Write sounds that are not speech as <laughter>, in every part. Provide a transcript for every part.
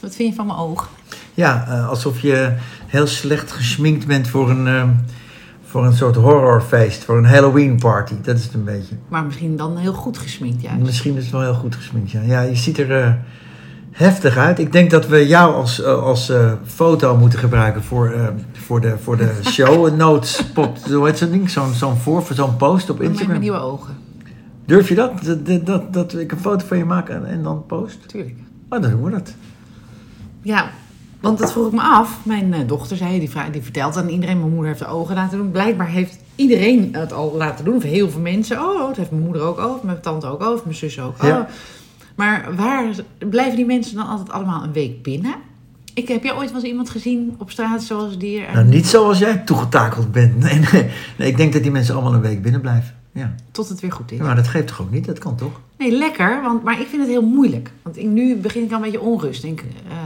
Wat vind je van mijn oog? Ja, eh, alsof je heel slecht gesminkt bent voor een, eh, voor een soort horrorfeest, voor een Halloween party. Dat is het een beetje. Maar misschien dan heel goed gesminkt juist. Misschien is het wel heel goed gesminkt, ja. Ja, je ziet er eh, heftig uit. Ik denk dat we jou als, eh, als eh, foto moeten gebruiken voor, eh, voor, de, voor de show. Een noodspot, hoe heet zo'n ding? Zo'n zo'n voor, zo'n post op Met mijn Instagram. nieuwe ogen. Durf je dat? Dat, dat, dat? dat ik een foto van je maak en, en dan post? Tuurlijk. Oh, dan doen we dat. Ja, want dat vroeg ik me af. Mijn eh, dochter zei, die, vra- die vertelt aan iedereen, mijn moeder heeft de ogen laten doen. Blijkbaar heeft iedereen het al laten doen, of heel veel mensen. Oh, dat heeft mijn moeder ook, oh, mijn tante ook, oh, mijn zus ook. Oh. Ja. Maar waar blijven die mensen dan altijd allemaal een week binnen? Ik heb jij ooit wel eens iemand gezien op straat zoals die er Nou, niet zoals jij toegetakeld bent. Nee, nee. nee, ik denk dat die mensen allemaal een week binnen blijven. Ja. tot het weer goed is? Ja, maar dat geeft toch ook niet? Dat kan toch? Nee, lekker, want, maar ik vind het heel moeilijk. Want ik, nu begin ik al een beetje onrust. Ik Denk, eh,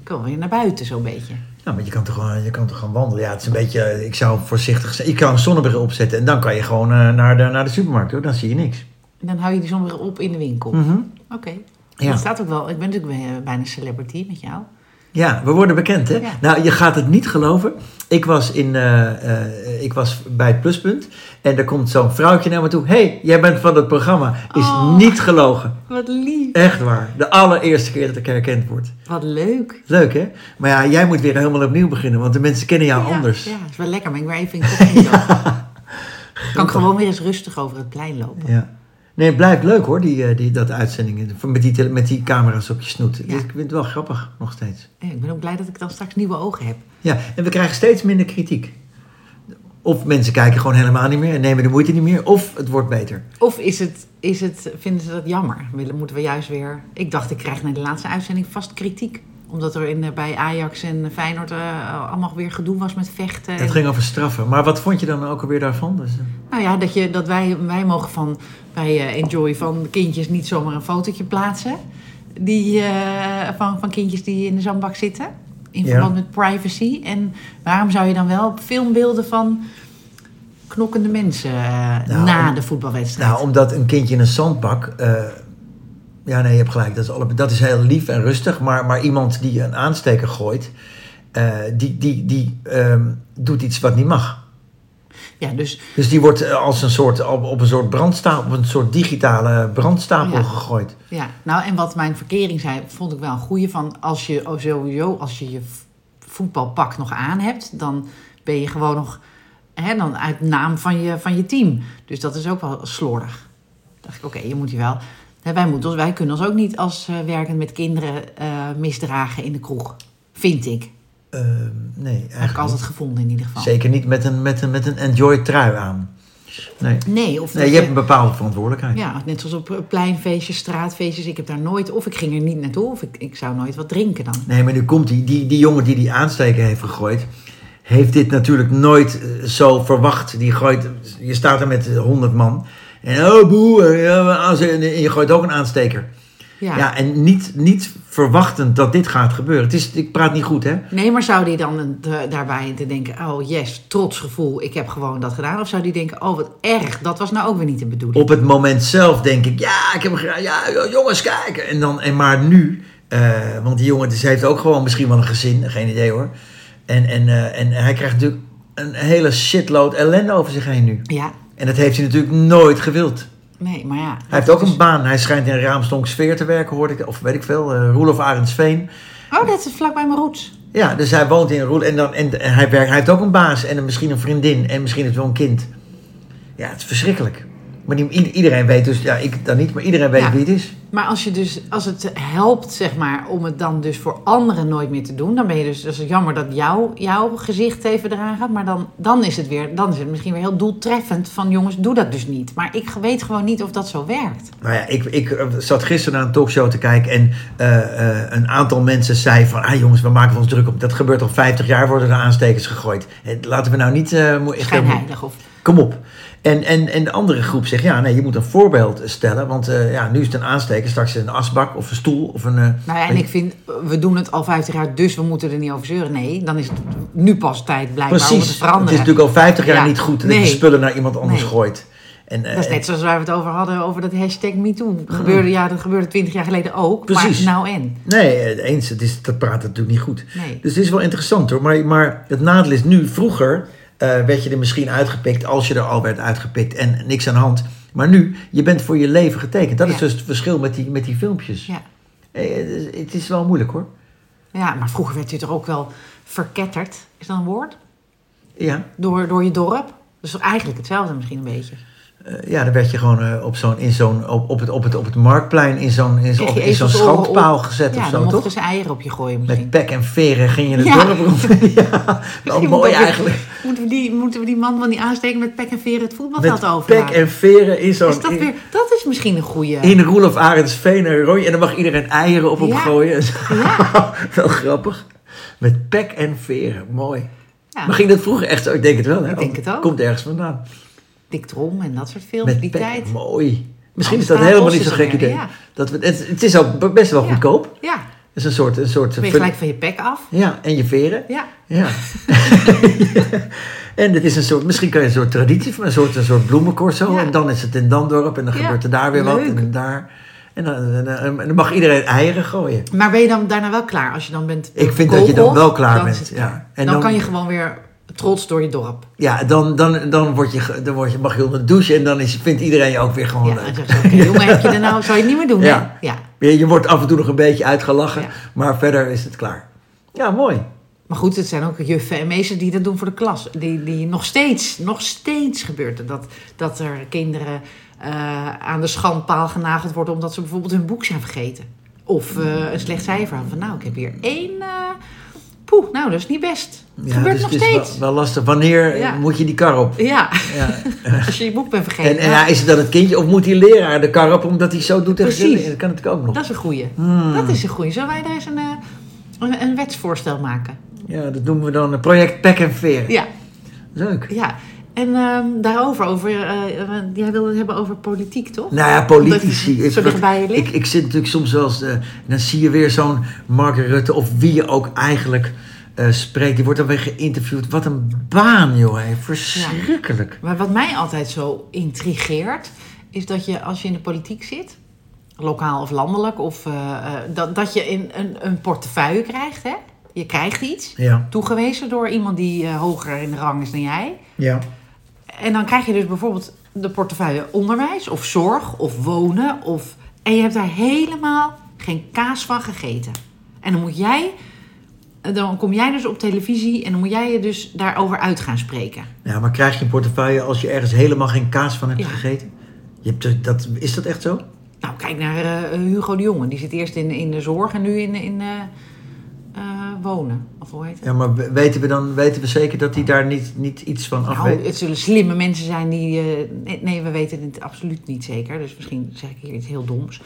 ik wil weer naar buiten zo'n beetje. Nou, maar je kan toch gewoon, je kan toch gaan wandelen? Ja, het is een beetje, eh, ik zou voorzichtig zijn. Ik kan een zonnebril opzetten en dan kan je gewoon eh, naar, de, naar de supermarkt hoor. Dan zie je niks. En dan hou je die zonbril op in de winkel. Mhm. Oké. Ja. Dat staat ook wel. Ik ben natuurlijk bij- bijna een celebrity met jou. Ja, we worden bekend, hè? Ja. Nou, je gaat het niet geloven. Ik was, in, eh, eh, ik was bij het pluspunt en er komt zo'n vrouwtje naar me toe. Hé, hey, jij bent van het programma. Is Oh. niet gelogen. Wat lief. Echt waar. De allereerste keer dat ik herkend word. Wat leuk. Leuk, hè? Maar ja, jij moet weer helemaal opnieuw beginnen, want de mensen kennen jou anders. Ja, is wel lekker, maar ik ben even in <laughs> het Kan ik gewoon weer eens rustig over het plein lopen. Ja. Nee, het blijft leuk hoor, die, eh, die, dat uitzendingen. Met die, tele- met die camera's op je snoet. Dus ik vind het wel grappig, nog steeds. Ja, ik ben ook blij dat ik dan straks nieuwe ogen heb. Ja, en we krijgen steeds minder kritiek. Of mensen kijken gewoon helemaal niet meer en nemen de moeite niet meer. Of het wordt beter. Of is het, is het, vinden ze dat jammer? Willen, moeten we juist weer... Ik dacht, ik krijg na de laatste uitzending vast kritiek. Omdat er in, eh, bij Ajax en Feyenoord eh, allemaal weer gedoe was met vechten. Het en- ging over straffen. Maar wat vond je dan ook alweer daarvan? Dus, eh, Nou ja, dat, je, dat wij, wij mogen van bij eh, Enjoy van de kindjes niet zomaar een fotootje plaatsen. Die, eh, van, van kindjes die in de zandbak zitten. In Ja. verband met privacy. En waarom zou je dan wel filmbeelden van knokkende mensen eh, Nou, na om- de voetbalwedstrijd? nou, omdat een kindje in een zandbak... eh, ja, nee, je hebt gelijk. Dat is, alle, dat is heel lief en rustig. Maar, maar iemand die een aansteker gooit... eh, die, die, die ehm, doet iets wat niet mag. ja, dus Dus die wordt eh, als een soort, op, op een soort brandstapel, op een soort digitale brandstapel Ja. gegooid. Ja, nou en wat mijn verkering zei, vond ik wel een goeie van als je oh, sowieso als je je v- voetbalpak nog aan hebt, dan ben je gewoon nog hè, dan uit naam van je, van je team. Dus dat is ook wel slordig. Dacht ik, oké, je moet je wel. Hè, wij, moeten, ons- wij kunnen ons ook niet als eh, werkend met kinderen eh, misdragen in de kroeg. Vind ik. Eh, nee, Heb ik eigenlijk altijd niet. gevonden in ieder geval. Zeker niet met een, met een, met een enjoy trui aan. Nee. Nee, of nee, dat je hebt een bepaalde verantwoordelijkheid. Ja, net zoals op eh, pleinfeestjes, straatfeestjes. Ik heb daar nooit, of ik ging er niet naartoe, of ik, ik zou nooit wat drinken dan. Nee, maar nu komt die, die, die jongen die die aansteker heeft gegooid, heeft dit natuurlijk nooit eh, zo verwacht. Die gooit, je staat er met honderd man en oh boe, eh, ja, als- en je gooit ook een aansteker. Ja, en niet, niet verwachtend dat dit gaat gebeuren. Het is, ik praat niet goed, hè? Nee, maar zou die dan een- de- daarbij te denken, oh yes, trots gevoel, ik heb gewoon dat gedaan? Of zou die denken, oh wat erg, dat was nou ook weer niet de bedoeling? op het moment zelf denk ik, ja, ik heb hem gedaan, ja, joh, jongens, kijken. En dan, en maar nu, eh, want die jongen dus heeft ook gewoon misschien wel een gezin, geen idee hoor. En, en, eh, en hij krijgt natuurlijk een hele shitload ellende over zich heen nu. Ja, En dat heeft hij natuurlijk nooit gewild. nee, maar ja. Hij heeft ook een baan. Hij schijnt in Raamstonk sfeer te werken, hoorde ik. Of weet ik veel. eh Roelof Arendsveen. Oh, dat is vlakbij mijn roots. Ja, dus hij woont in Roel. En, dan, en, en hij, werkt, hij heeft ook een baas. En een- misschien een vriendin. En misschien heeft wel een kind. Ja, het is verschrikkelijk. Maar die, i- iedereen weet dus... Ja, ik dan niet. Maar iedereen weet Ja. wie het is. Maar als, je dus, als het helpt, zeg maar, om het dan dus voor anderen nooit meer te doen, dan ben je dus, dat is jammer dat jouw jouw gezicht even eraan gaat, maar dan, dan is het weer, dan is het misschien weer heel doeltreffend van jongens, doe dat dus niet. Maar ik weet gewoon niet of dat zo werkt. Nou ja, ik, ik eh, zat gisteren naar een talkshow te kijken en eh, eh, een aantal mensen zei van... Ah jongens, we maken ons druk om. Dat gebeurt al 50 jaar, worden er aanstekers gegooid. Eh, Laten we nou niet... eh, moe- Schijnheilig of... Kom op. En, en, en de andere groep zegt, ja, nee, je moet een voorbeeld stellen. Want eh, ja, nu is het een aansteker, straks is het een asbak of een stoel of een... eh, Nou ja, en ik vind, eh, we doen het al 50 jaar, dus we moeten er niet over zeuren. Nee, dan is het nu pas tijd blijkbaar om het te Precies. Het veranderen. is natuurlijk al 50 jaar Ja. niet goed dat Nee. je spullen naar iemand anders Nee. gooit. En, eh, Dat is net zoals waar we het over hadden, over dat hashtag MeToo. Gebeurde, ja, dat gebeurde twintig jaar geleden ook. Precies. Maar nou en? Nee, eh, eens, het is, dat praat natuurlijk niet goed. Nee. Dus het is wel interessant hoor. Maar, maar het nadeel is nu, vroeger eh, werd je er misschien uitgepikt als je er al werd uitgepikt en niks aan de hand. Maar nu, je bent voor je leven getekend. Dat is Ja. dus het verschil met die, met die filmpjes. Ja. Eh, het is- het is wel moeilijk hoor. ja, maar vroeger werd u toch ook wel verketterd, is dat een woord? Ja, Door, door je dorp? Dus eigenlijk hetzelfde misschien een beetje. eh, ja dan werd je gewoon eh, op, zo'n, in zo'n, op, op, het, op, het, op het marktplein in zo'n, in zo'n, Kreeg je in zo'n ezels oren op. schandpaal gezet Ja, of dan zo, mochten toch? ze eieren op je gooien misschien. Met pek en veren ging je het Ja. dorp <laughs> rond. <laughs> ja, wel Misschien mooi moeten we- eigenlijk. Moeten we, die, moeten we die man van die aansteken met pek en veren het voetbalveld Met over? pek en veren in zo'n... Is dat, weer, dat is misschien een goede. In Roelof Arends Veen en Roy. En dan mag iedereen eieren op hem Ja. gooien. <laughs> Wel grappig. Met pek en veren. Mooi. Ja, Maar ging dat vroeger echt zo? Ik denk het wel. Hè? Ik denk het ook. Komt ergens vandaan. Dick Trom en dat soort films, Met die pek. tijd. Mooi. Misschien is dat Amsterdam helemaal Bos niet zo'n is gek er weer, idee. ja. Dat we, het, het is ook best wel Ja. goedkoop. Het Ja, is een soort... Een soort ben je gelijk van je pek af. Ja, en je veren. Ja, <laughs> Ja. <laughs> en het is een soort, misschien kan je een soort traditie van een soort, een soort bloemencorso. Ja. En dan is het in Dandorp en dan Ja, gebeurt er daar weer wat. En leuk. dan daar. En dan, en dan- en dan mag iedereen eieren gooien. maar ben je dan daarna wel klaar? Als je dan bent Ik vind dat je dan gekogeld, wel klaar dan is bent, het ja. klaar. En dan, dan- kan je gewoon weer trots door je dorp. Ja, dan, dan, dan, word je, ge- dan word je, mag je onder de douche en dan is, vindt iedereen je ook weer gewoon Ja, en Oh, leuk. dan zeg je, oké jongen, heb je er nou, zou je het niet meer doen? hè? <laughs> Ja. ja. Je, je wordt af en toe nog een beetje uitgelachen, Ja. maar verder is het klaar. Ja, mooi. Maar goed, het zijn ook juffen en meesters die dat doen voor de klas. Die, die nog steeds, nog steeds gebeurt er dat, dat er kinderen eh, aan de schandpaal genageld worden omdat ze bijvoorbeeld hun boek zijn vergeten. Of eh, een slecht cijfer hadden van nou, ik heb hier één. eh, poeh, nou dat is niet best. Het Ja, gebeurt dus nog het is wel- steeds. wel, lastig. Wanneer Ja. moet je die kar op? Ja, Ja. als je je boek bent vergeten. nou, En, en ja, is het dan het kindje of moet die leraar de kar op omdat hij zo doet? tegen de Precies. kinderen? Dat kan natuurlijk ook nog. Dat is een goeie. Hmm. Dat is een goeie. Zullen wij daar eens een, eh, een, een wetsvoorstel maken? Ja, dat noemen we dan een project Pek en Veer. Ja, Leuk. ja. En ehm, daarover, over, eh, want jij wilde het hebben over politiek, toch? Nou ja, Omdat politici. het zo Ik- dichtbij je ligt. Ik, ik zit natuurlijk soms wel eens... eh, en dan zie je weer zo'n Mark Rutte of wie je ook eigenlijk eh, spreekt. Die wordt dan weer geïnterviewd. Wat een baan, joh. hè. Verschrikkelijk. Maar wat mij altijd zo intrigeert, is dat je als je in de politiek zit, lokaal of landelijk, of, eh, eh, dat, dat je in een, een portefeuille krijgt. Hè? Je krijgt iets, Ja. toegewezen door iemand die eh, hoger in de rang is dan jij. Ja. En dan krijg je dus bijvoorbeeld de portefeuille onderwijs of zorg of wonen. Of... En je hebt daar helemaal geen kaas van gegeten. En dan moet jij, dan kom jij dus op televisie en dan moet jij je dus daarover uit gaan spreken. Ja, Nou, maar krijg je een portefeuille als je ergens helemaal geen kaas van hebt Ja. gegeten? Je hebt, er- dat, is dat echt zo? Nou, kijk naar eh, Hugo de Jonge. Die zit eerst in, in de zorg en nu in, in eh, eh, wonen. Of hoe heet het? Ja, maar we- weten we dan weten we zeker dat hij daar niet, niet iets van af weet? Nou, het zullen slimme mensen zijn die... eh, nee, nee, we weten het absoluut niet zeker. Dus misschien zeg ik hier iets heel doms.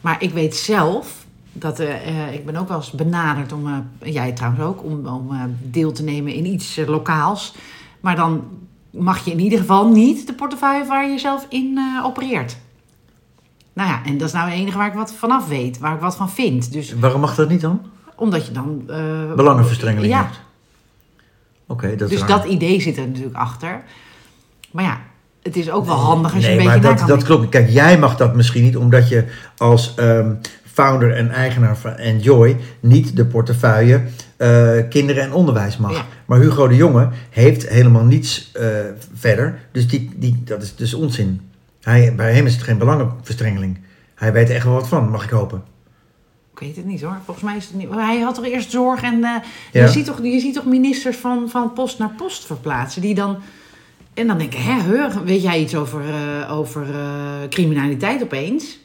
Maar ik weet zelf dat... eh, eh, ik ben ook wel eens benaderd om... eh, jij trouwens ook, om, om eh, deel te nemen in iets eh, lokaals. Maar dan mag je in ieder geval niet de portefeuille waar je zelf in eh, opereert. Nou ja, en dat is nou het enige waar ik wat vanaf weet. Waar ik wat van vind. Dus Waarom mag dat niet dan? omdat je dan... eh, Belangenverstrengeling Ja, hebt. Oké, dat is dus raar. dat idee zit er natuurlijk achter. Maar ja, het is ook wel handig als je nee, een beetje maar naar dat, kan dat denken. klopt. Kijk, jij mag dat misschien niet, omdat je als ehm, founder en eigenaar van Enjoy niet de portefeuille eh, kinderen en onderwijs mag. Ja. Maar Hugo de Jonge heeft helemaal niets eh, verder, dus die, die, dat is dus onzin. Hij, bij hem is het geen belangenverstrengeling. Hij weet er echt wel wat van, mag ik hopen. Ik weet het niet hoor. Volgens mij is het niet. Hij had toch eerst zorg en eh, Ja. je, ziet toch, je ziet toch ministers van, van post naar post verplaatsen die dan. En dan denken, hè, heur, weet jij iets over, eh, over eh, criminaliteit opeens?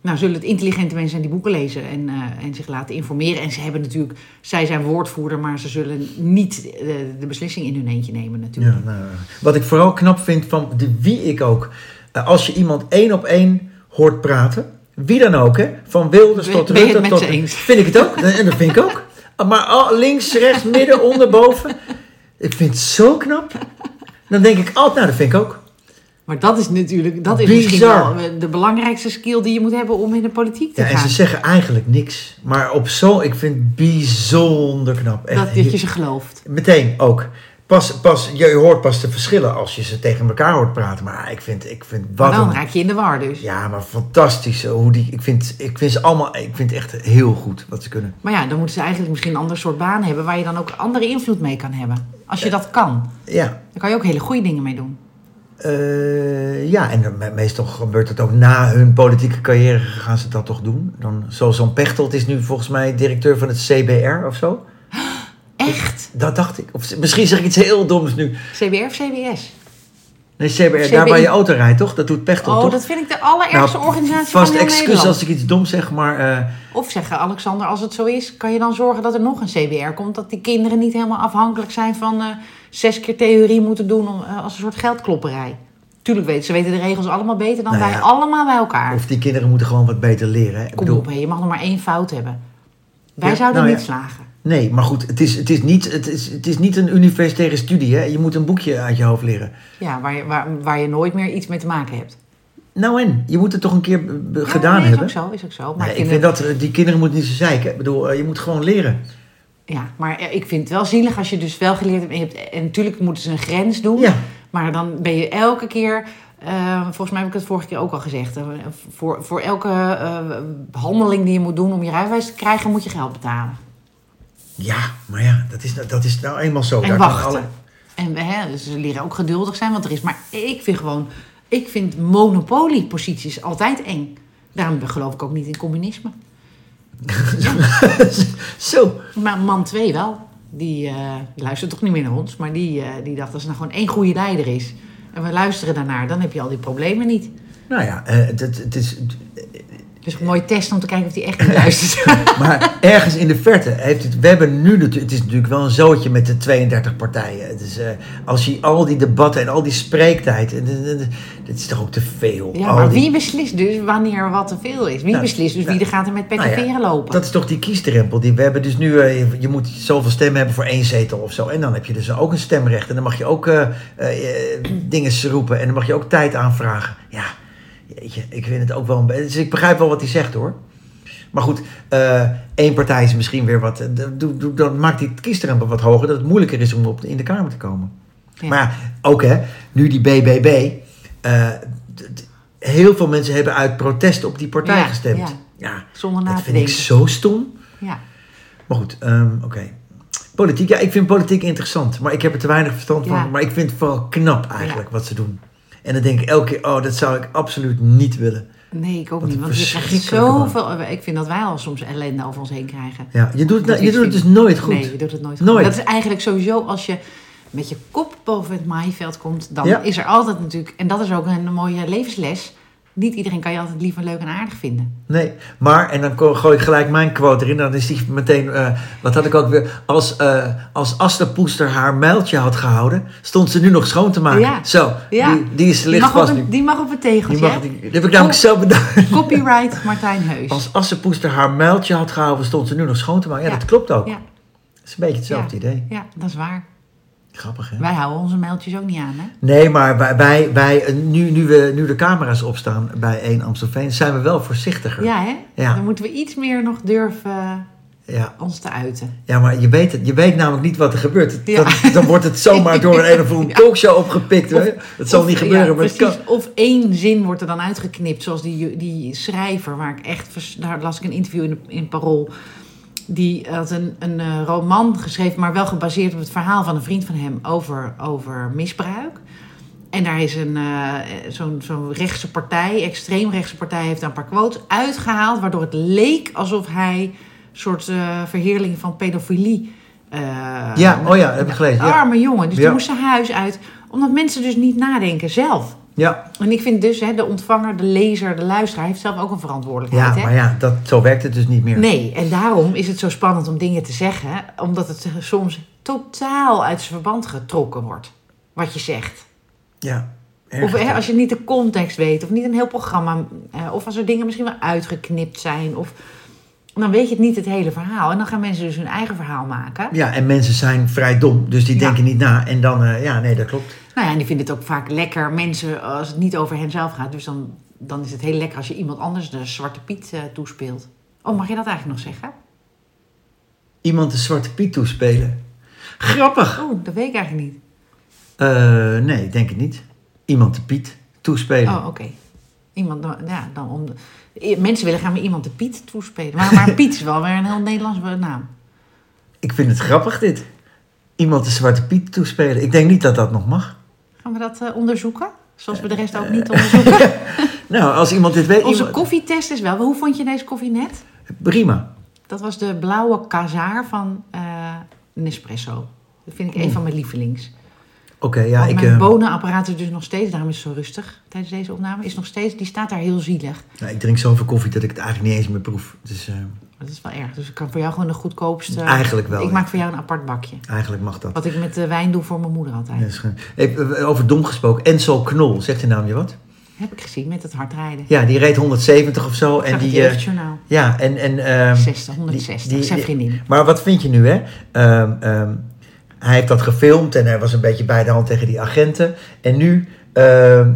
Nou, zullen het intelligente mensen zijn die boeken lezen en, eh, en zich laten informeren. En ze hebben natuurlijk, zij zijn woordvoerder, maar ze zullen niet eh, de beslissing in hun eentje nemen natuurlijk. Ja, nou, wat ik vooral knap vind van de wie ik ook. Eh, Als je iemand één op één hoort praten, wie dan ook, hè, van Wilders Ben- tot ben je het Rutte met tot. ze eens? Vind ik het ook, en dat vind ik <laughs> ook. Maar al- links, rechts, midden, onder, boven. Ik vind het zo knap. Dan denk ik altijd, nou, dat vind ik ook. Maar dat is natuurlijk, dat is Bizar. misschien wel eh, de belangrijkste skill die je moet hebben om in de politiek te Ja, en gaan. ze zeggen eigenlijk niks. Maar op zo, ik vind het bijzonder knap. Echt dat, dat je ze gelooft. Meteen ook. Pas, pas, je hoort pas de verschillen als je ze tegen elkaar hoort praten. Maar ik vind, ik vind Maar <laughs> wat dan een- raak je in de war dus. Ja, maar fantastisch. eh, Hoe die, ik, vind, ik, vind ze allemaal, ik vind echt heel goed wat ze kunnen. Maar ja, dan moeten ze eigenlijk misschien een ander soort baan hebben waar je dan ook andere invloed mee kan hebben. Als je dat kan, Ja, dan kan je ook hele goede dingen mee doen. Eh, ja en me- meestal gebeurt dat ook na hun politieke carrière gaan ze dat toch doen. Dan, zoals zo'n Pechtold is nu volgens mij directeur van het CBR of zo. Echt? Dat dacht ik. Of, misschien zeg ik iets heel doms nu. CBR of CBS? Nee, CBR, CBI. daar waar je auto rijdt, toch? Dat doet Pechtold, Oh, toch? dat vind ik de allerergste Nou, organisatie van Vast heel excuus Nederland. als ik iets doms zeg, maar... eh, Of zeggen, Alexander, als het zo is, kan je dan zorgen dat er nog een CBR komt? Dat die kinderen niet helemaal afhankelijk zijn van eh, zes keer theorie moeten doen om, eh, als een soort geldklopperij. Tuurlijk weten ze weten de regels allemaal beter dan Nou ja. wij allemaal bij elkaar. of die kinderen moeten gewoon wat beter leren. Hè? Ik Kom bedoel, op, hè, je mag nog maar één fout hebben. Wij Ja, zouden nou niet ja. slagen. Nee, maar goed, het is, het, is niet, het, is, het is niet een universitaire studie. Hè? Je moet een boekje uit je hoofd leren. Ja, waar je, waar, waar je nooit meer iets mee te maken hebt. Nou en, je moet het toch een keer eh, be- Ja, gedaan nee, hebben. Is ook zo, is ook zo. Maar, Nee, ik kinderen- vind dat eh, die kinderen moeten niet zo zeiken. Ik bedoel, eh, je moet gewoon leren. ja, maar eh, ik vind het wel zielig als je dus wel geleerd hebt. En, je hebt, en natuurlijk moeten ze een grens doen. Ja. Maar dan ben je elke keer, eh, volgens mij heb ik het vorige keer ook al gezegd. eh, voor, voor elke eh, handeling die je moet doen om je rijbewijs te krijgen, moet je geld betalen. Ja, maar ja, dat is, nou- dat is nou eenmaal zo. en Daar kan wachten. alle- En we, hè, dus ze leren ook geduldig zijn, want er is. Maar ik vind gewoon, ik vind monopolieposities altijd eng. Daarom geloof ik ook niet in communisme. <laughs> zo. Maar man 2 wel. Die eh, die luistert toch niet meer naar ons. Maar die, eh, die dacht, als er nou gewoon één goede leider is... en we luisteren daarnaar, dan heb je al die problemen niet. Nou ja, eh, het, het, het is... <laughs> Dus een mooie test om te kijken of die echt niet luistert. Maar ergens in de verte heeft het... We hebben nu natuurlijk... Het is natuurlijk wel een zootje met de 32 partijen. Het is, eh, als je al die debatten en al die spreektijd... En, en- en- dat is toch ook te veel? ja, Al maar die- wie beslist dus wanneer wat te veel is? Wie Nou, beslist dus nou, wie er gaat er met pet en nou ja, veren lopen? Dat is toch die kiesdrempel die we hebben. Dus nu, eh, je, je moet zoveel stemmen hebben voor één zetel of zo. En dan heb je dus ook een stemrecht. En dan mag je ook eh, eh, <clears throat> eh, dingen roepen. En dan mag je ook tijd aanvragen. Ja, jeetje, ik vind het ook wel... een be- Dus ik begrijp wel wat hij zegt hoor. Maar goed, eh, één partij is misschien weer wat... eh, Doe, doe, dan maakt die kiesdrempel wat hoger. Dat het moeilijker is om op, in de Kamer te komen. Ja. Maar ja, ook hè, nu die BBB... eh, d- d- heel veel mensen hebben uit protest op die partij Ja, gestemd. ja. ja Zonder na dat te vind ik denken. zo stom. Ja. Maar goed, ehm, oké. Politiek, ja, ik vind politiek interessant. Maar ik heb er te weinig verstand van. Ja. Maar ik vind het vooral knap eigenlijk wat ze doen. En dan denk ik elke keer, oh, dat zou ik absoluut niet willen. Nee, ik ook Wat niet. een Want je krijgt verschrikkelijke zoveel... eh, Ik vind dat wij al soms ellende over ons heen krijgen. Ja, je doet, Dat nou, je ik doet het dus vind- nooit goed. Nee, je doet het nooit, Nooit. goed. Dat is eigenlijk sowieso als je met je kop boven het maaiveld komt, dan Ja. is er altijd natuurlijk, en dat is ook een mooie levensles. Niet iedereen kan je altijd lief en leuk en aardig vinden. Nee, maar, en dan ko- gooi ik gelijk mijn quote erin. Dan is die meteen, eh, wat had ik ook weer. Als, eh als Asterpoester haar mijltje had gehouden, stond ze nu nog schoon te maken. Ja. Zo, Ja. die, die is Die licht mag, op vast een, nu. die mag op het tegeltje. Die mag, hè? Oh. die, die heb ik namelijk Kom. zelf bedacht. Copyright Martijn Heus. Als Assenpoester haar mijltje had gehouden, stond ze nu nog schoon te maken. Ja, Ja. dat klopt ook. Ja, Dat is een beetje hetzelfde Ja. idee. ja, dat is waar. Grappig, hè? Wij houden onze mailtjes ook niet aan, hè? Nee, maar wij, wij, wij nu, nu, we, nu de camera's opstaan bij 1 Amstelveen, zijn we wel voorzichtiger. Ja, hè? Ja. Dan moeten we iets meer nog durven eh, ja. ons te uiten. Ja, maar je weet, het, je weet namelijk niet wat er gebeurt. Ja. Dan, dan wordt het zomaar door een of <laughs> andere talkshow opgepikt. hè? dat zal Of- niet ja, gebeuren, maar het kan. precies. Of één zin wordt er dan uitgeknipt, zoals die, die schrijver, waar ik echt, vers- daar las ik een interview in, in Parool. Die had een, een eh, roman geschreven, maar wel gebaseerd op het verhaal van een vriend van hem over, over misbruik. En daar is een, eh, zo'n, zo'n rechtse partij, extreemrechtse partij, heeft daar een paar quotes uitgehaald. Waardoor het leek alsof hij een soort eh, verheerling van pedofilie. eh, Ja, oh ja, dat heb ik gelezen. Ja. Arme jongen, dus Ja. die moest zijn huis uit. Omdat mensen dus niet nadenken zelf. Ja, En ik vind dus, hè, de ontvanger, de lezer, de luisteraar heeft zelf ook een ja verantwoordelijkheid. hè? maar ja, dat, zo werkt het dus niet meer. Nee, en daarom is het zo spannend om dingen te zeggen. Omdat het soms totaal uit zijn verband getrokken wordt. Wat je zegt. Ja, erg. Of hè, als je niet de context weet, of niet een heel programma. eh, Of als er dingen misschien wel uitgeknipt zijn. Of, dan weet je het niet het hele verhaal. En dan gaan mensen dus hun eigen verhaal maken. Ja, en mensen zijn vrij dom, dus die Ja. denken niet na. En dan, eh, ja, nee, dat klopt. Nou ja, en die vinden het ook vaak lekker, mensen, eh, als het niet over henzelf gaat. Dus dan, dan is het heel lekker als je iemand anders de Zwarte Piet eh, toespeelt. Oh, mag je dat eigenlijk nog zeggen? Iemand de Zwarte Piet toespelen. Grappig. Oeh, Oh, dat weet ik eigenlijk niet. Eh, nee, ik denk het niet. Iemand de Piet toespelen. Oh, oké. Iemand, dan- ja, dan om... I- Mensen willen gaan we iemand de Piet toespelen. Maar, maar Piet is wel weer een heel Nederlands naam. Ik vind het grappig dit. Iemand de Zwarte Piet toespelen. Ik denk niet dat dat nog mag. Gaan we dat eh, onderzoeken? Zoals we de rest ook niet onderzoeken. Nou, als iemand dit weet... Onze iemand- koffietest is wel... Hoe vond je deze koffie net? Prima. Dat was de blauwe kazaar van eh, Nespresso. Dat vind ik een van mijn lievelings. Oké, ja, Want ik... Oh, mijn eh, bonenapparaat is dus nog steeds, daarom is het zo rustig tijdens deze opname, is nog steeds, die staat daar heel zielig. nou, ik drink zoveel koffie dat ik het eigenlijk niet eens meer proef. Dus eh, Dat is wel erg. Dus ik kan voor jou gewoon de goedkoopste. Eigenlijk wel, Ik ja. maak voor jou een apart bakje. eigenlijk mag dat. Wat ik met de wijn doe voor mijn moeder altijd. Ja, is gewoon- Hey, eh, over dom gesproken. Enzo Knol, zegt de naam je wat? Heb ik gezien met het hardrijden. Ja, die reed 170 of zo. En Zag die, het in eh, het journaal. ja, en... en ehm, 60, 160, die- zijn die- vriendin. Maar wat vind je nu, hè? Ehm, ehm, hij heeft dat gefilmd en hij was een beetje bij de hand tegen die agenten. En nu, ehm,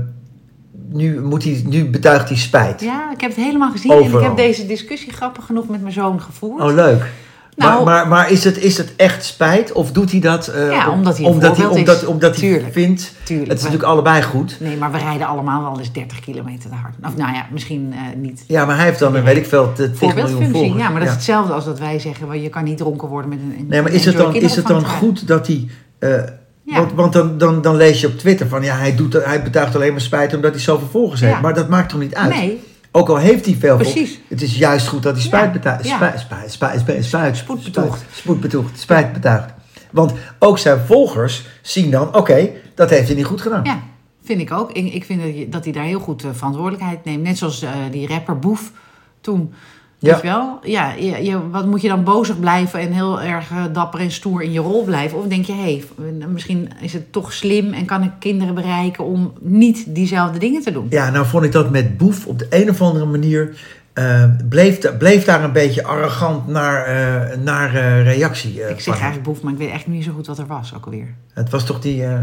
nu, moet hij, nu betuigt hij spijt. Ja, ik heb het helemaal gezien en Overal. ik heb deze discussie grappig genoeg met mijn zoon gevoerd. Oh, leuk. Nou- maar maar, maar is, het, is het echt spijt of doet hij dat eh, Ja, om- omdat hij een omdat hij, voorbeeld omdat, is. omdat hij Tuurlijk. vindt, Tuurlijk, het is maar- natuurlijk allebei goed. Nee, maar we rijden allemaal wel eens 30 kilometer te hard. Of nou ja, misschien eh, niet. Ja, maar hij heeft dan, een, weet ik veel, te- 10 miljoen Voorbeeldfunctie, volgers. ja, maar dat Ja. is hetzelfde als dat wij zeggen, wel, je kan niet dronken worden met een... Nee, maar met is het een dan, is het dan kinderopvangtrui. goed dat hij... eh, Ja. Want, want dan, dan, dan lees je op Twitter van ja, hij, doet, dat- hij betuigt alleen maar spijt omdat hij zoveel volgers heeft. Ja. Maar dat maakt toch niet uit? Nee, Ook al heeft hij veel Precies. volgers, Het is juist goed dat hij Ja. spijt betuigt. Ja. Spijt, spijt, spijt, spijt, spijt, Spoed betoogd. spijt- spoed betoogd, spijt betuigt. Want ook zijn volgers zien dan, oké, dat heeft hij niet goed gedaan. ja, vind ik ook. Ik, ik vind dat, je- dat hij daar heel goed eh, verantwoordelijkheid neemt. Net zoals eh, die rapper Boef toen. Ja. Weet je wel? Ja, je, je- wat moet je dan bozig blijven en heel erg eh, dapper en stoer in je rol blijven? Of denk je, hé, hey, eh, misschien is het toch slim en kan ik kinderen bereiken om niet diezelfde dingen te doen? Ja, nou vond ik dat met Boef op de een of andere manier. eh, bleef, da- bleef daar een beetje arrogant naar, eh, naar eh, reactie. eh, ik zeg van hem. eigenlijk Boef, maar ik weet echt niet zo goed wat er was ook alweer. Het was toch die. eh,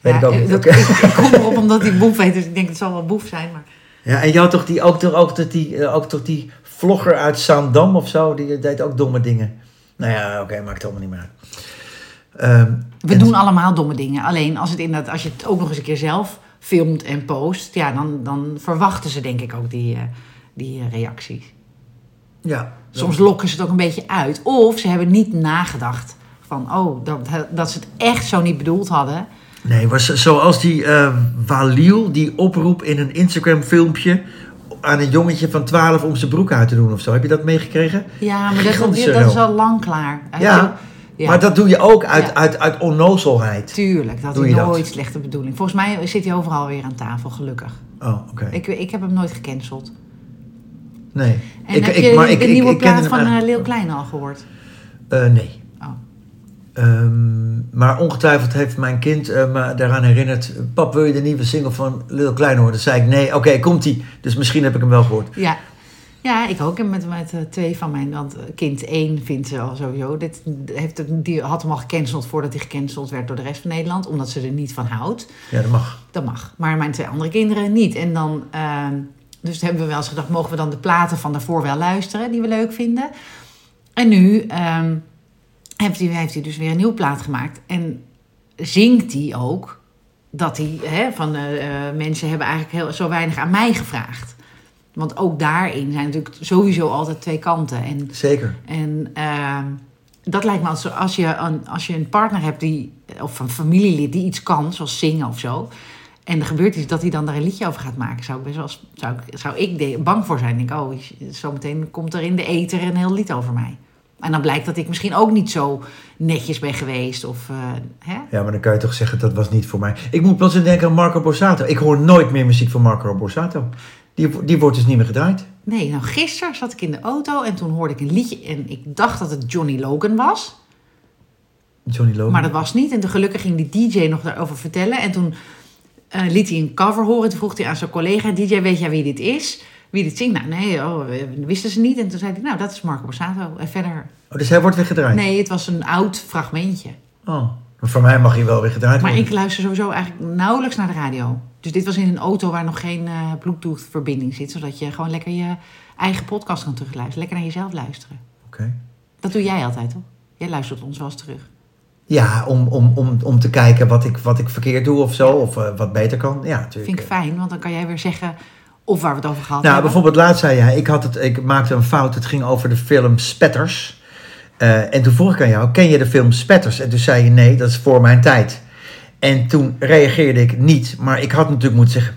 Weet Ja, ik ook niet. eh, dat- oké. ik, ik kom erop omdat hij boef heet, dus ik denk het zal wel boef zijn. Maar Ja, en je had toch die, ook, toch, ook, toch die, eh, ook toch die vlogger uit Zaandam of zo, die deed ook domme dingen. Nou ja, oké, maakt allemaal niet meer uit. Ehm, we en- doen allemaal domme dingen. Alleen als, het inderdaad, als je het ook nog eens een keer zelf filmt en post, ja, dan, dan verwachten ze denk ik ook die, eh, die eh, reacties. Ja, Soms lokken ze het ook een beetje uit. Of ze hebben niet nagedacht van, oh, dat, dat ze het echt zo niet bedoeld hadden. Nee, was zoals die eh Waliel, die oproep in een Instagram-filmpje aan een jongetje van 12 om zijn broek uit te doen of zo. Heb je dat meegekregen? Ja, maar dat, dat, Ganzenhel. dat is al lang klaar. Hij Ja, heeft ook- ja. Maar dat doe je ook uit, Ja. uit, uit onnozelheid. Tuurlijk, dat Doe is je dat? nooit slechte bedoeling. Volgens mij zit hij overal weer aan tafel, gelukkig. Oh, oké. Ik, ik heb hem nooit gecanceld. Nee. En heb je de nieuwe kende plaat hem van eigenlijk- eh, Leeuw Klein al gehoord? Eh, nee. Oh. Ehm, maar ongetwijfeld heeft mijn kind eh, me daaraan herinnerd. Pap, wil je de nieuwe single van Lil Klein horen? Dan zei ik nee. Oké, komt ie. Dus misschien heb ik hem wel gehoord. Ja. Ja, ik ook. En met, met eh, twee van mijn... Want eh, kind één vindt ze al sowieso... Dit heeft, het- die had hem al gecanceld voordat hij gecanceld werd door de rest van Nederland. Omdat ze er niet van houdt. Ja, dat mag. Dat mag. Maar mijn twee andere kinderen niet. En dan... ehm, dus hebben we wel eens gedacht... Mogen we dan de platen van daarvoor wel luisteren? Die we leuk vinden. En nu ehm, heeft, hij, heeft hij dus weer een nieuwe plaat gemaakt. En zingt hij ook dat hij hè, van eh, eh, mensen hebben eigenlijk heel, zo weinig aan mij gevraagd. Want ook daarin zijn natuurlijk sowieso altijd twee kanten. En, Zeker. en ehm, dat lijkt me als, als, je een, als je een partner hebt die, of een familielid die iets kan, zoals zingen of zo. En er gebeurt iets dat hij dan daar een liedje over gaat maken. Zou ik best wel, eens- zou ik, zou ik de- bang voor zijn. Denk, ik, oh, zometeen komt er in de eter een heel lied over mij. En dan blijkt dat ik misschien ook niet zo netjes ben geweest. Of, eh, hè? Ja, maar dan kan je toch zeggen dat was niet voor mij. Ik moet plotseling denken aan Marco Borsato. Ik hoor nooit meer muziek van Marco Borsato. Die, die wordt dus niet meer gedraaid. Nee, nou gisteren zat ik in de auto en toen hoorde ik een liedje en ik dacht dat het Johnny Logan was. Johnny Logan. Maar dat was niet. En toen gelukkig ging die DJ nog daarover vertellen. En toen eh, liet hij een cover horen. Toen vroeg hij aan zijn collega, DJ, weet jij wie dit is? Wie dit zingt? Nou, nee, oh, eh, wisten ze niet. En toen zei hij, nou, dat is Marco Borsato. En verder, Oh, dus hij wordt weer gedraaid? nee, het was een oud fragmentje. Oh. Maar voor mij mag hij wel weer gedraaid Maar worden. ik luister sowieso eigenlijk nauwelijks naar de radio. Dus dit was in een auto waar nog geen eh, Bluetooth-verbinding zit. Zodat je gewoon lekker je eigen podcast kan terugluisteren. Lekker naar jezelf luisteren. Oké. Dat doe jij altijd, toch? Jij luistert ons wel eens terug. Ja, om, om, om, om te kijken wat ik, wat ik verkeerd doe of zo, of eh, wat beter kan. Ja, natuurlijk. Vind ik fijn, want dan kan jij weer zeggen of waar we het over gehad Nou, hebben. bijvoorbeeld laatst zei jij, ik, had het, ik maakte een fout. Het ging over de film Spetters. Eh, en toen vroeg ik aan jou, ken je de film Spetters? En toen zei je, nee, dat is voor mijn tijd. En toen reageerde ik niet. Maar ik had natuurlijk moeten zeggen,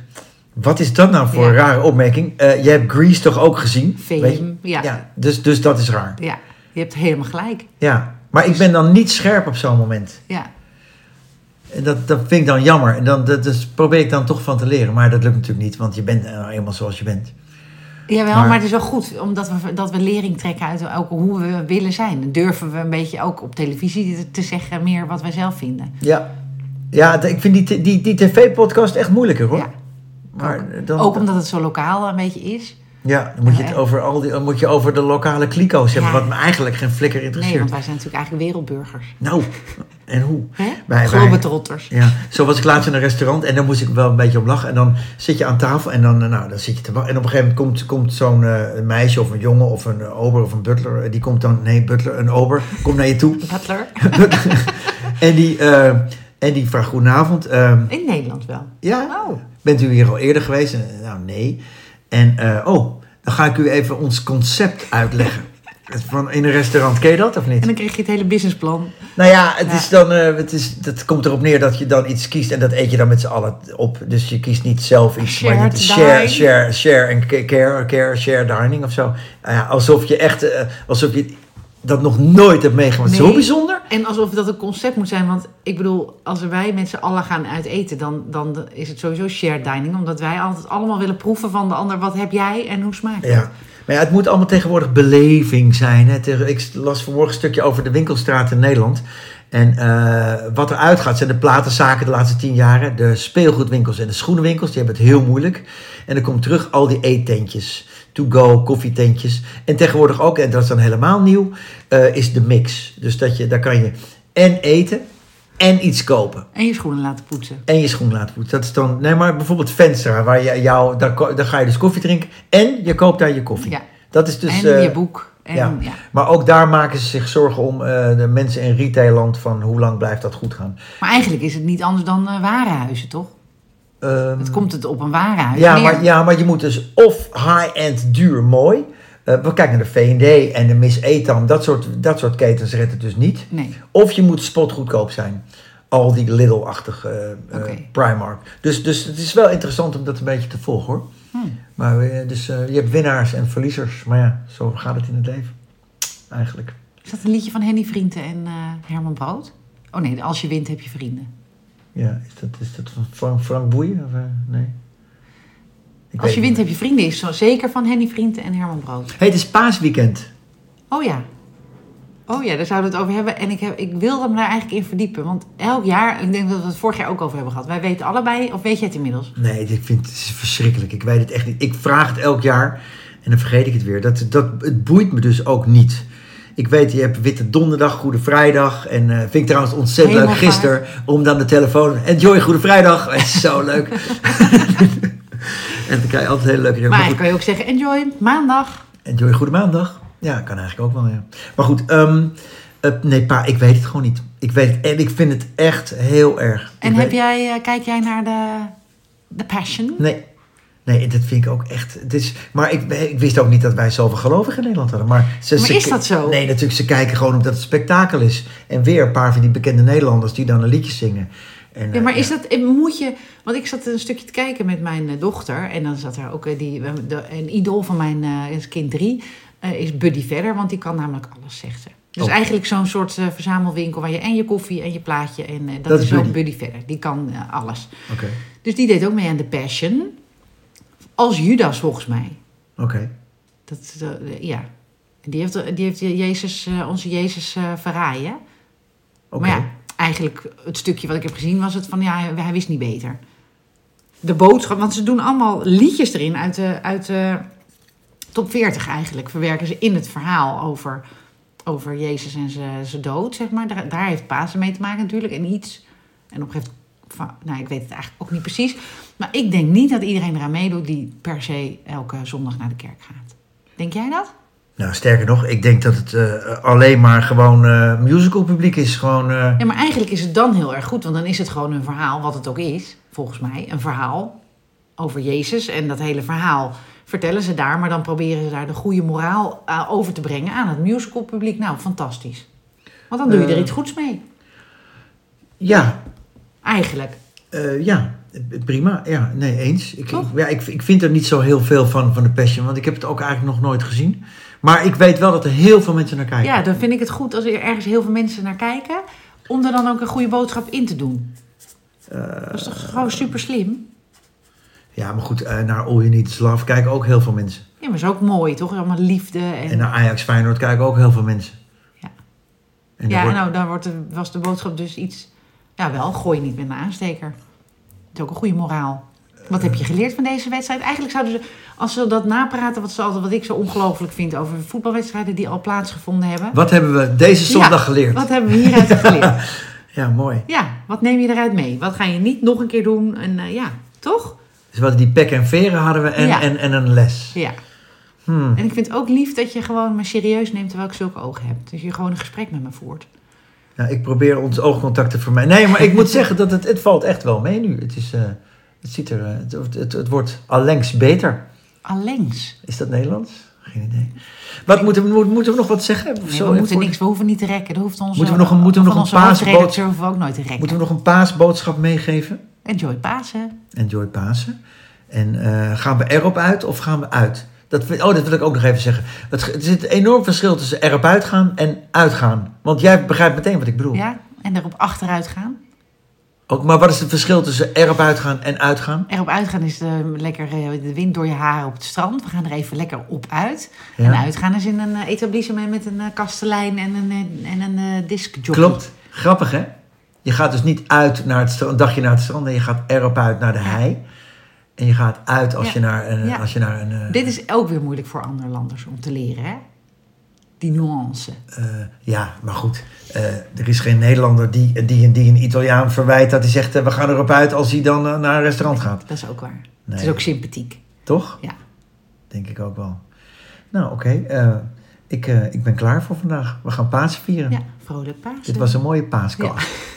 wat is dat nou voor Ja. een rare opmerking? Eh, je hebt Grease toch ook gezien? Film, Weet je? ja. dus, dus dat is raar. Ja, je hebt helemaal gelijk. Ja. Maar ik ben dan niet scherp op zo'n moment. Ja, En Dat, dat vind ik dan jammer. En dan, dat, dus probeer ik dan toch van te leren. Maar dat lukt natuurlijk niet, want je bent nou eenmaal zoals je bent. Jawel, maar, Maar- het is wel goed, omdat we, dat we lering trekken uit ook hoe we willen zijn. Durven we een beetje ook op televisie te, te zeggen meer wat wij zelf vinden. Ja, ja d- ik vind die, t- die, die tv-podcast echt moeilijker hoor. Ja, maar dan, ook omdat het zo lokaal een beetje is. Ja, dan moet je, het Ja. over al die, dan moet je over de lokale kliko's hebben, Ja. wat me eigenlijk geen flikker Nee, interesseert. want wij zijn natuurlijk eigenlijk wereldburgers. Nou, en hoe? Hè? Wij- Globetrotters. Ja, zo was ik laatst in een restaurant en daar moest ik wel een beetje om lachen. En dan zit je aan tafel en dan, eh, nou, dan zit je te wachten. En op een gegeven moment komt, komt zo'n eh, meisje of een jongen of een eh, ober of een butler. eh, Die komt dan, nee, butler, een ober, komt naar je toe. <laughs> Butler. en, die, eh, en die vraagt goedenavond. eh, In Nederland wel. ja, Oh, Bent u hier al eerder geweest? En, eh, Nou, nee. En, eh, oh, dan ga ik u even ons concept <laughs> uitleggen. Het Van in een restaurant, ken je dat of en niet? dan kreeg je het hele businessplan. Nou ja, het, Ja. Is dan, eh, het, is, het komt erop neer dat je dan iets kiest en dat eet je dan met z'n allen op. Dus je kiest niet zelf iets, maar je Shared share, dine. share, share en ca- care, care, share dining of zo. Nou ja, alsof je echt, eh, alsof je dat nog nooit hebt meegemaakt. Nee. Zo bijzonder. En alsof dat een concept moet zijn. Want ik bedoel, als wij met z'n allen gaan uiteten, dan, dan is het sowieso shared dining. Omdat wij altijd allemaal willen proeven van de ander. Wat heb jij en hoe smaakt het? Ja. Maar ja, het moet allemaal tegenwoordig beleving zijn. Hè. Tegen- Ik las vanmorgen een stukje over de winkelstraat in Nederland. En eh, wat eruit gaat zijn de platenzaken de laatste tien jaren. De speelgoedwinkels en de schoenenwinkels. Die hebben het heel moeilijk. En er komt terug al die eettentjes. To-go, koffietentjes. En tegenwoordig ook, en dat is dan helemaal nieuw, eh, is de mix. Dus dat je, daar kan je en eten en iets kopen. En je schoenen laten poetsen. En je schoen laten poetsen. Dat is dan, nee maar bijvoorbeeld Venstra, waar je jou, daar, ko- daar ga je dus koffie drinken. En je koopt daar je koffie. Ja. Dat is dus. en eh, je boek. En, ja. ja. Maar ook daar maken ze zich zorgen om eh, de mensen in retailland van hoe lang blijft dat goed gaan. Maar eigenlijk is het niet anders dan eh warenhuizen, toch? Ehm, Het komt het op een warenhuis ja, neer. maar, ja, maar je moet dus of high-end duur mooi. Eh, we kijken naar de V&D en de Miss Etam. Dat soort, dat soort ketens redt het dus niet. Nee, Of je moet spotgoedkoop zijn. Al die Lidl-achtige eh, eh, Oké. Primark. Dus, dus het is wel interessant om dat een beetje te volgen hoor. Hmm. Maar eh, dus, eh, je hebt winnaars en verliezers. Maar ja, zo gaat het in het leven. Eigenlijk. is dat een liedje van Henny Vrienden en eh, Herman Brood? Oh nee, als je wint heb je vrienden. Ja, is dat, is dat van Frank, Frank Boeien? Of, eh, nee. Ik Als je wint weet het niet. heb je vrienden is zo zeker van Henny Vrienden en Herman Brood. Hey, het is paasweekend. Oh ja. Oh ja, daar zouden we het over hebben. En ik, heb, ik wilde me daar eigenlijk in verdiepen. Want elk jaar, ik denk dat we het vorig jaar ook over hebben gehad. Wij weten allebei, of weet jij het inmiddels? Nee, ik vind het is verschrikkelijk. Ik weet het echt niet. Ik vraag het elk jaar en dan vergeet ik het weer. Dat, dat, het boeit me dus ook niet. Ik weet, je hebt Witte Donderdag, Goede Vrijdag. En eh vind ik trouwens ontzettend leuk Hemelvaart. gisteren om dan de telefoon. Enjoy Goede Vrijdag. <laughs> Het is zo <laughs> leuk. en dan krijg je altijd hele leuke dingen. Maar Maar eigenlijk kan je ook zeggen, enjoy, maandag. goed, Enjoy Goede Maandag. Ja, kan eigenlijk ook wel. Ja. Maar goed, ehm, eh, nee, pa, ik weet het gewoon niet. Ik weet het, en ik vind het echt heel erg. En Ik heb weet- jij, eh, kijk jij naar de, de Passion? Nee. Nee, dat vind ik ook echt. Het is, maar ik, ik wist ook niet dat wij zoveel gelovigen in Nederland hadden. Maar, ze, Maar ze- is dat zo? Nee, natuurlijk. Ze kijken gewoon omdat het spektakel is. En weer een paar van die bekende Nederlanders die dan een liedje zingen. En, Ja, eh, maar is dat, eh, moet je, want ik zat een stukje te kijken met mijn eh, dochter en dan zat er ook eh, die, eh, de- een idool van mijn eh, is kind drie, eh, is Buddy verder, want die kan namelijk alles, zegt ze. Dus Oh. eigenlijk zo'n soort eh, verzamelwinkel waar je en je koffie en je plaatje en eh, dat, Dat is is ook Buddy. Buddy verder, die kan eh, alles. Oké, Dus die deed ook mee aan de Passion, als Judas volgens mij. oké. Dat, is de- de- ja, die heeft, die heeft Jezus, eh, onze Jezus eh verraaien. oké. Maar ja, eigenlijk het stukje wat ik heb gezien was het van ja, hij, hij wist niet beter. De boodschap, want ze doen allemaal liedjes erin uit de, uit de top 40 eigenlijk. Verwerken ze in het verhaal over, over Jezus en zijn, zijn dood, zeg maar. Daar, daar heeft Pasen mee te maken natuurlijk en iets. En op een gegeven moment, van- nou ik weet het eigenlijk ook niet precies. Maar ik denk niet dat iedereen eraan meedoet die per se elke zondag naar de kerk gaat. Denk jij dat? Nou, sterker nog, ik denk dat het eh, alleen maar gewoon eh musical publiek is. Gewoon, eh, Ja, maar eigenlijk is het dan heel erg goed, want dan is het gewoon een verhaal, wat het ook is, volgens mij. Een verhaal over Jezus. En dat hele verhaal vertellen ze daar, maar dan proberen ze daar de goede moraal eh, over te brengen aan het musicalpubliek. Nou, fantastisch. Want dan doe je er Eh. iets goeds mee, ja, eigenlijk. Eh, ja, eh, prima. Ja, nee, eens. Ik, Toch? ik- ja, ik, ik vind er niet zo heel veel van, van de Passion, want ik heb het ook eigenlijk nog nooit gezien. Maar ik weet wel dat er heel veel mensen naar kijken. Ja, dan vind ik het goed als er ergens heel veel mensen naar kijken, om er dan ook een goede boodschap in te doen. Dat is toch gewoon super slim? Ja, maar goed, eh, naar All You Need Is Love kijken ook heel veel mensen. Ja, maar is ook mooi, toch? Allemaal liefde. En, En naar Ajax Feyenoord kijken ook heel veel mensen. Ja. En ja, ja, wordt, nou, dan wordt de, was de boodschap dus iets... Ja, wel, gooi niet met een aansteker. Het is ook een goede moraal. Wat heb je Eh. geleerd van deze wedstrijd? Eigenlijk zouden ze, als ze dat napraten, wat, ze altijd, wat ik zo ongelooflijk vind over voetbalwedstrijden die al plaatsgevonden hebben. Wat hebben we deze zondag Ja, geleerd? Wat hebben we hieruit geleerd? Ja, mooi. Ja, wat neem je eruit mee? Wat ga je niet nog een keer doen? En eh, ja, toch? Dus wat die pek en veren hadden we en, Ja. en, en een les. Ja. Hmm. En ik vind het ook lief dat je gewoon me serieus neemt terwijl ik zulke ogen heb. Dus je gewoon een gesprek met me voert. Nou, ik probeer ons oogcontact te vermijden. Nee, maar ik <laughs> moet zeggen dat het, het valt echt wel mee nu. Het, is, eh, het, ziet er, eh, het, het, het wordt allengs beter. Allengs. Is dat Nederlands? Geen idee. Wat moeten we, moet- moeten we nog wat zeggen? Nee, Zo, we eh, moeten voor- niks, we hoeven niet te rekken. Dat hoeft ons, Moeten we nog een- moeten we nog een paasboot- paasboot? hoeven we ook nooit te rekken. Moeten we nog een paasboodschap meegeven? Enjoy Pasen. Enjoy Pasen. En eh, gaan we erop uit of gaan we uit? Dat, we- oh, dat wil ik ook nog even zeggen. Het, ge- er zit een enorm verschil tussen erop uitgaan en uitgaan. Want jij begrijpt meteen wat ik bedoel. Ja? En erop achteruit gaan. Ook, maar wat is het verschil tussen erop uitgaan en uitgaan? Erop uitgaan is de, lekker eh, de wind door je haren op het strand. We gaan er even lekker op uit. Ja. En uitgaan is in een eh, etablissement met een eh, kastelein en een, eh, en een eh, discjockey. Klopt. Grappig, hè? Je gaat dus niet uit naar het strand, een dagje naar het strand. Nee, je gaat erop uit naar de hei. En je gaat uit als Ja. je naar een... Ja. Als je naar een eh, Dit is ook weer moeilijk voor anderlanders om te leren, hè? Die nuance. eh, ja, maar goed. eh, er is geen Nederlander die, die en die een Italiaan verwijt... dat hij zegt, eh, we gaan erop uit als hij dan eh, naar een restaurant gaat. Dat is ook waar. Nee. Het is ook sympathiek. Toch? Ja. Denk ik ook wel. Nou, oké. eh, ik, eh, ik ben klaar voor vandaag. We gaan Pasen vieren. Ja, vrolijk Pasen. Dit was een mooie paaskast.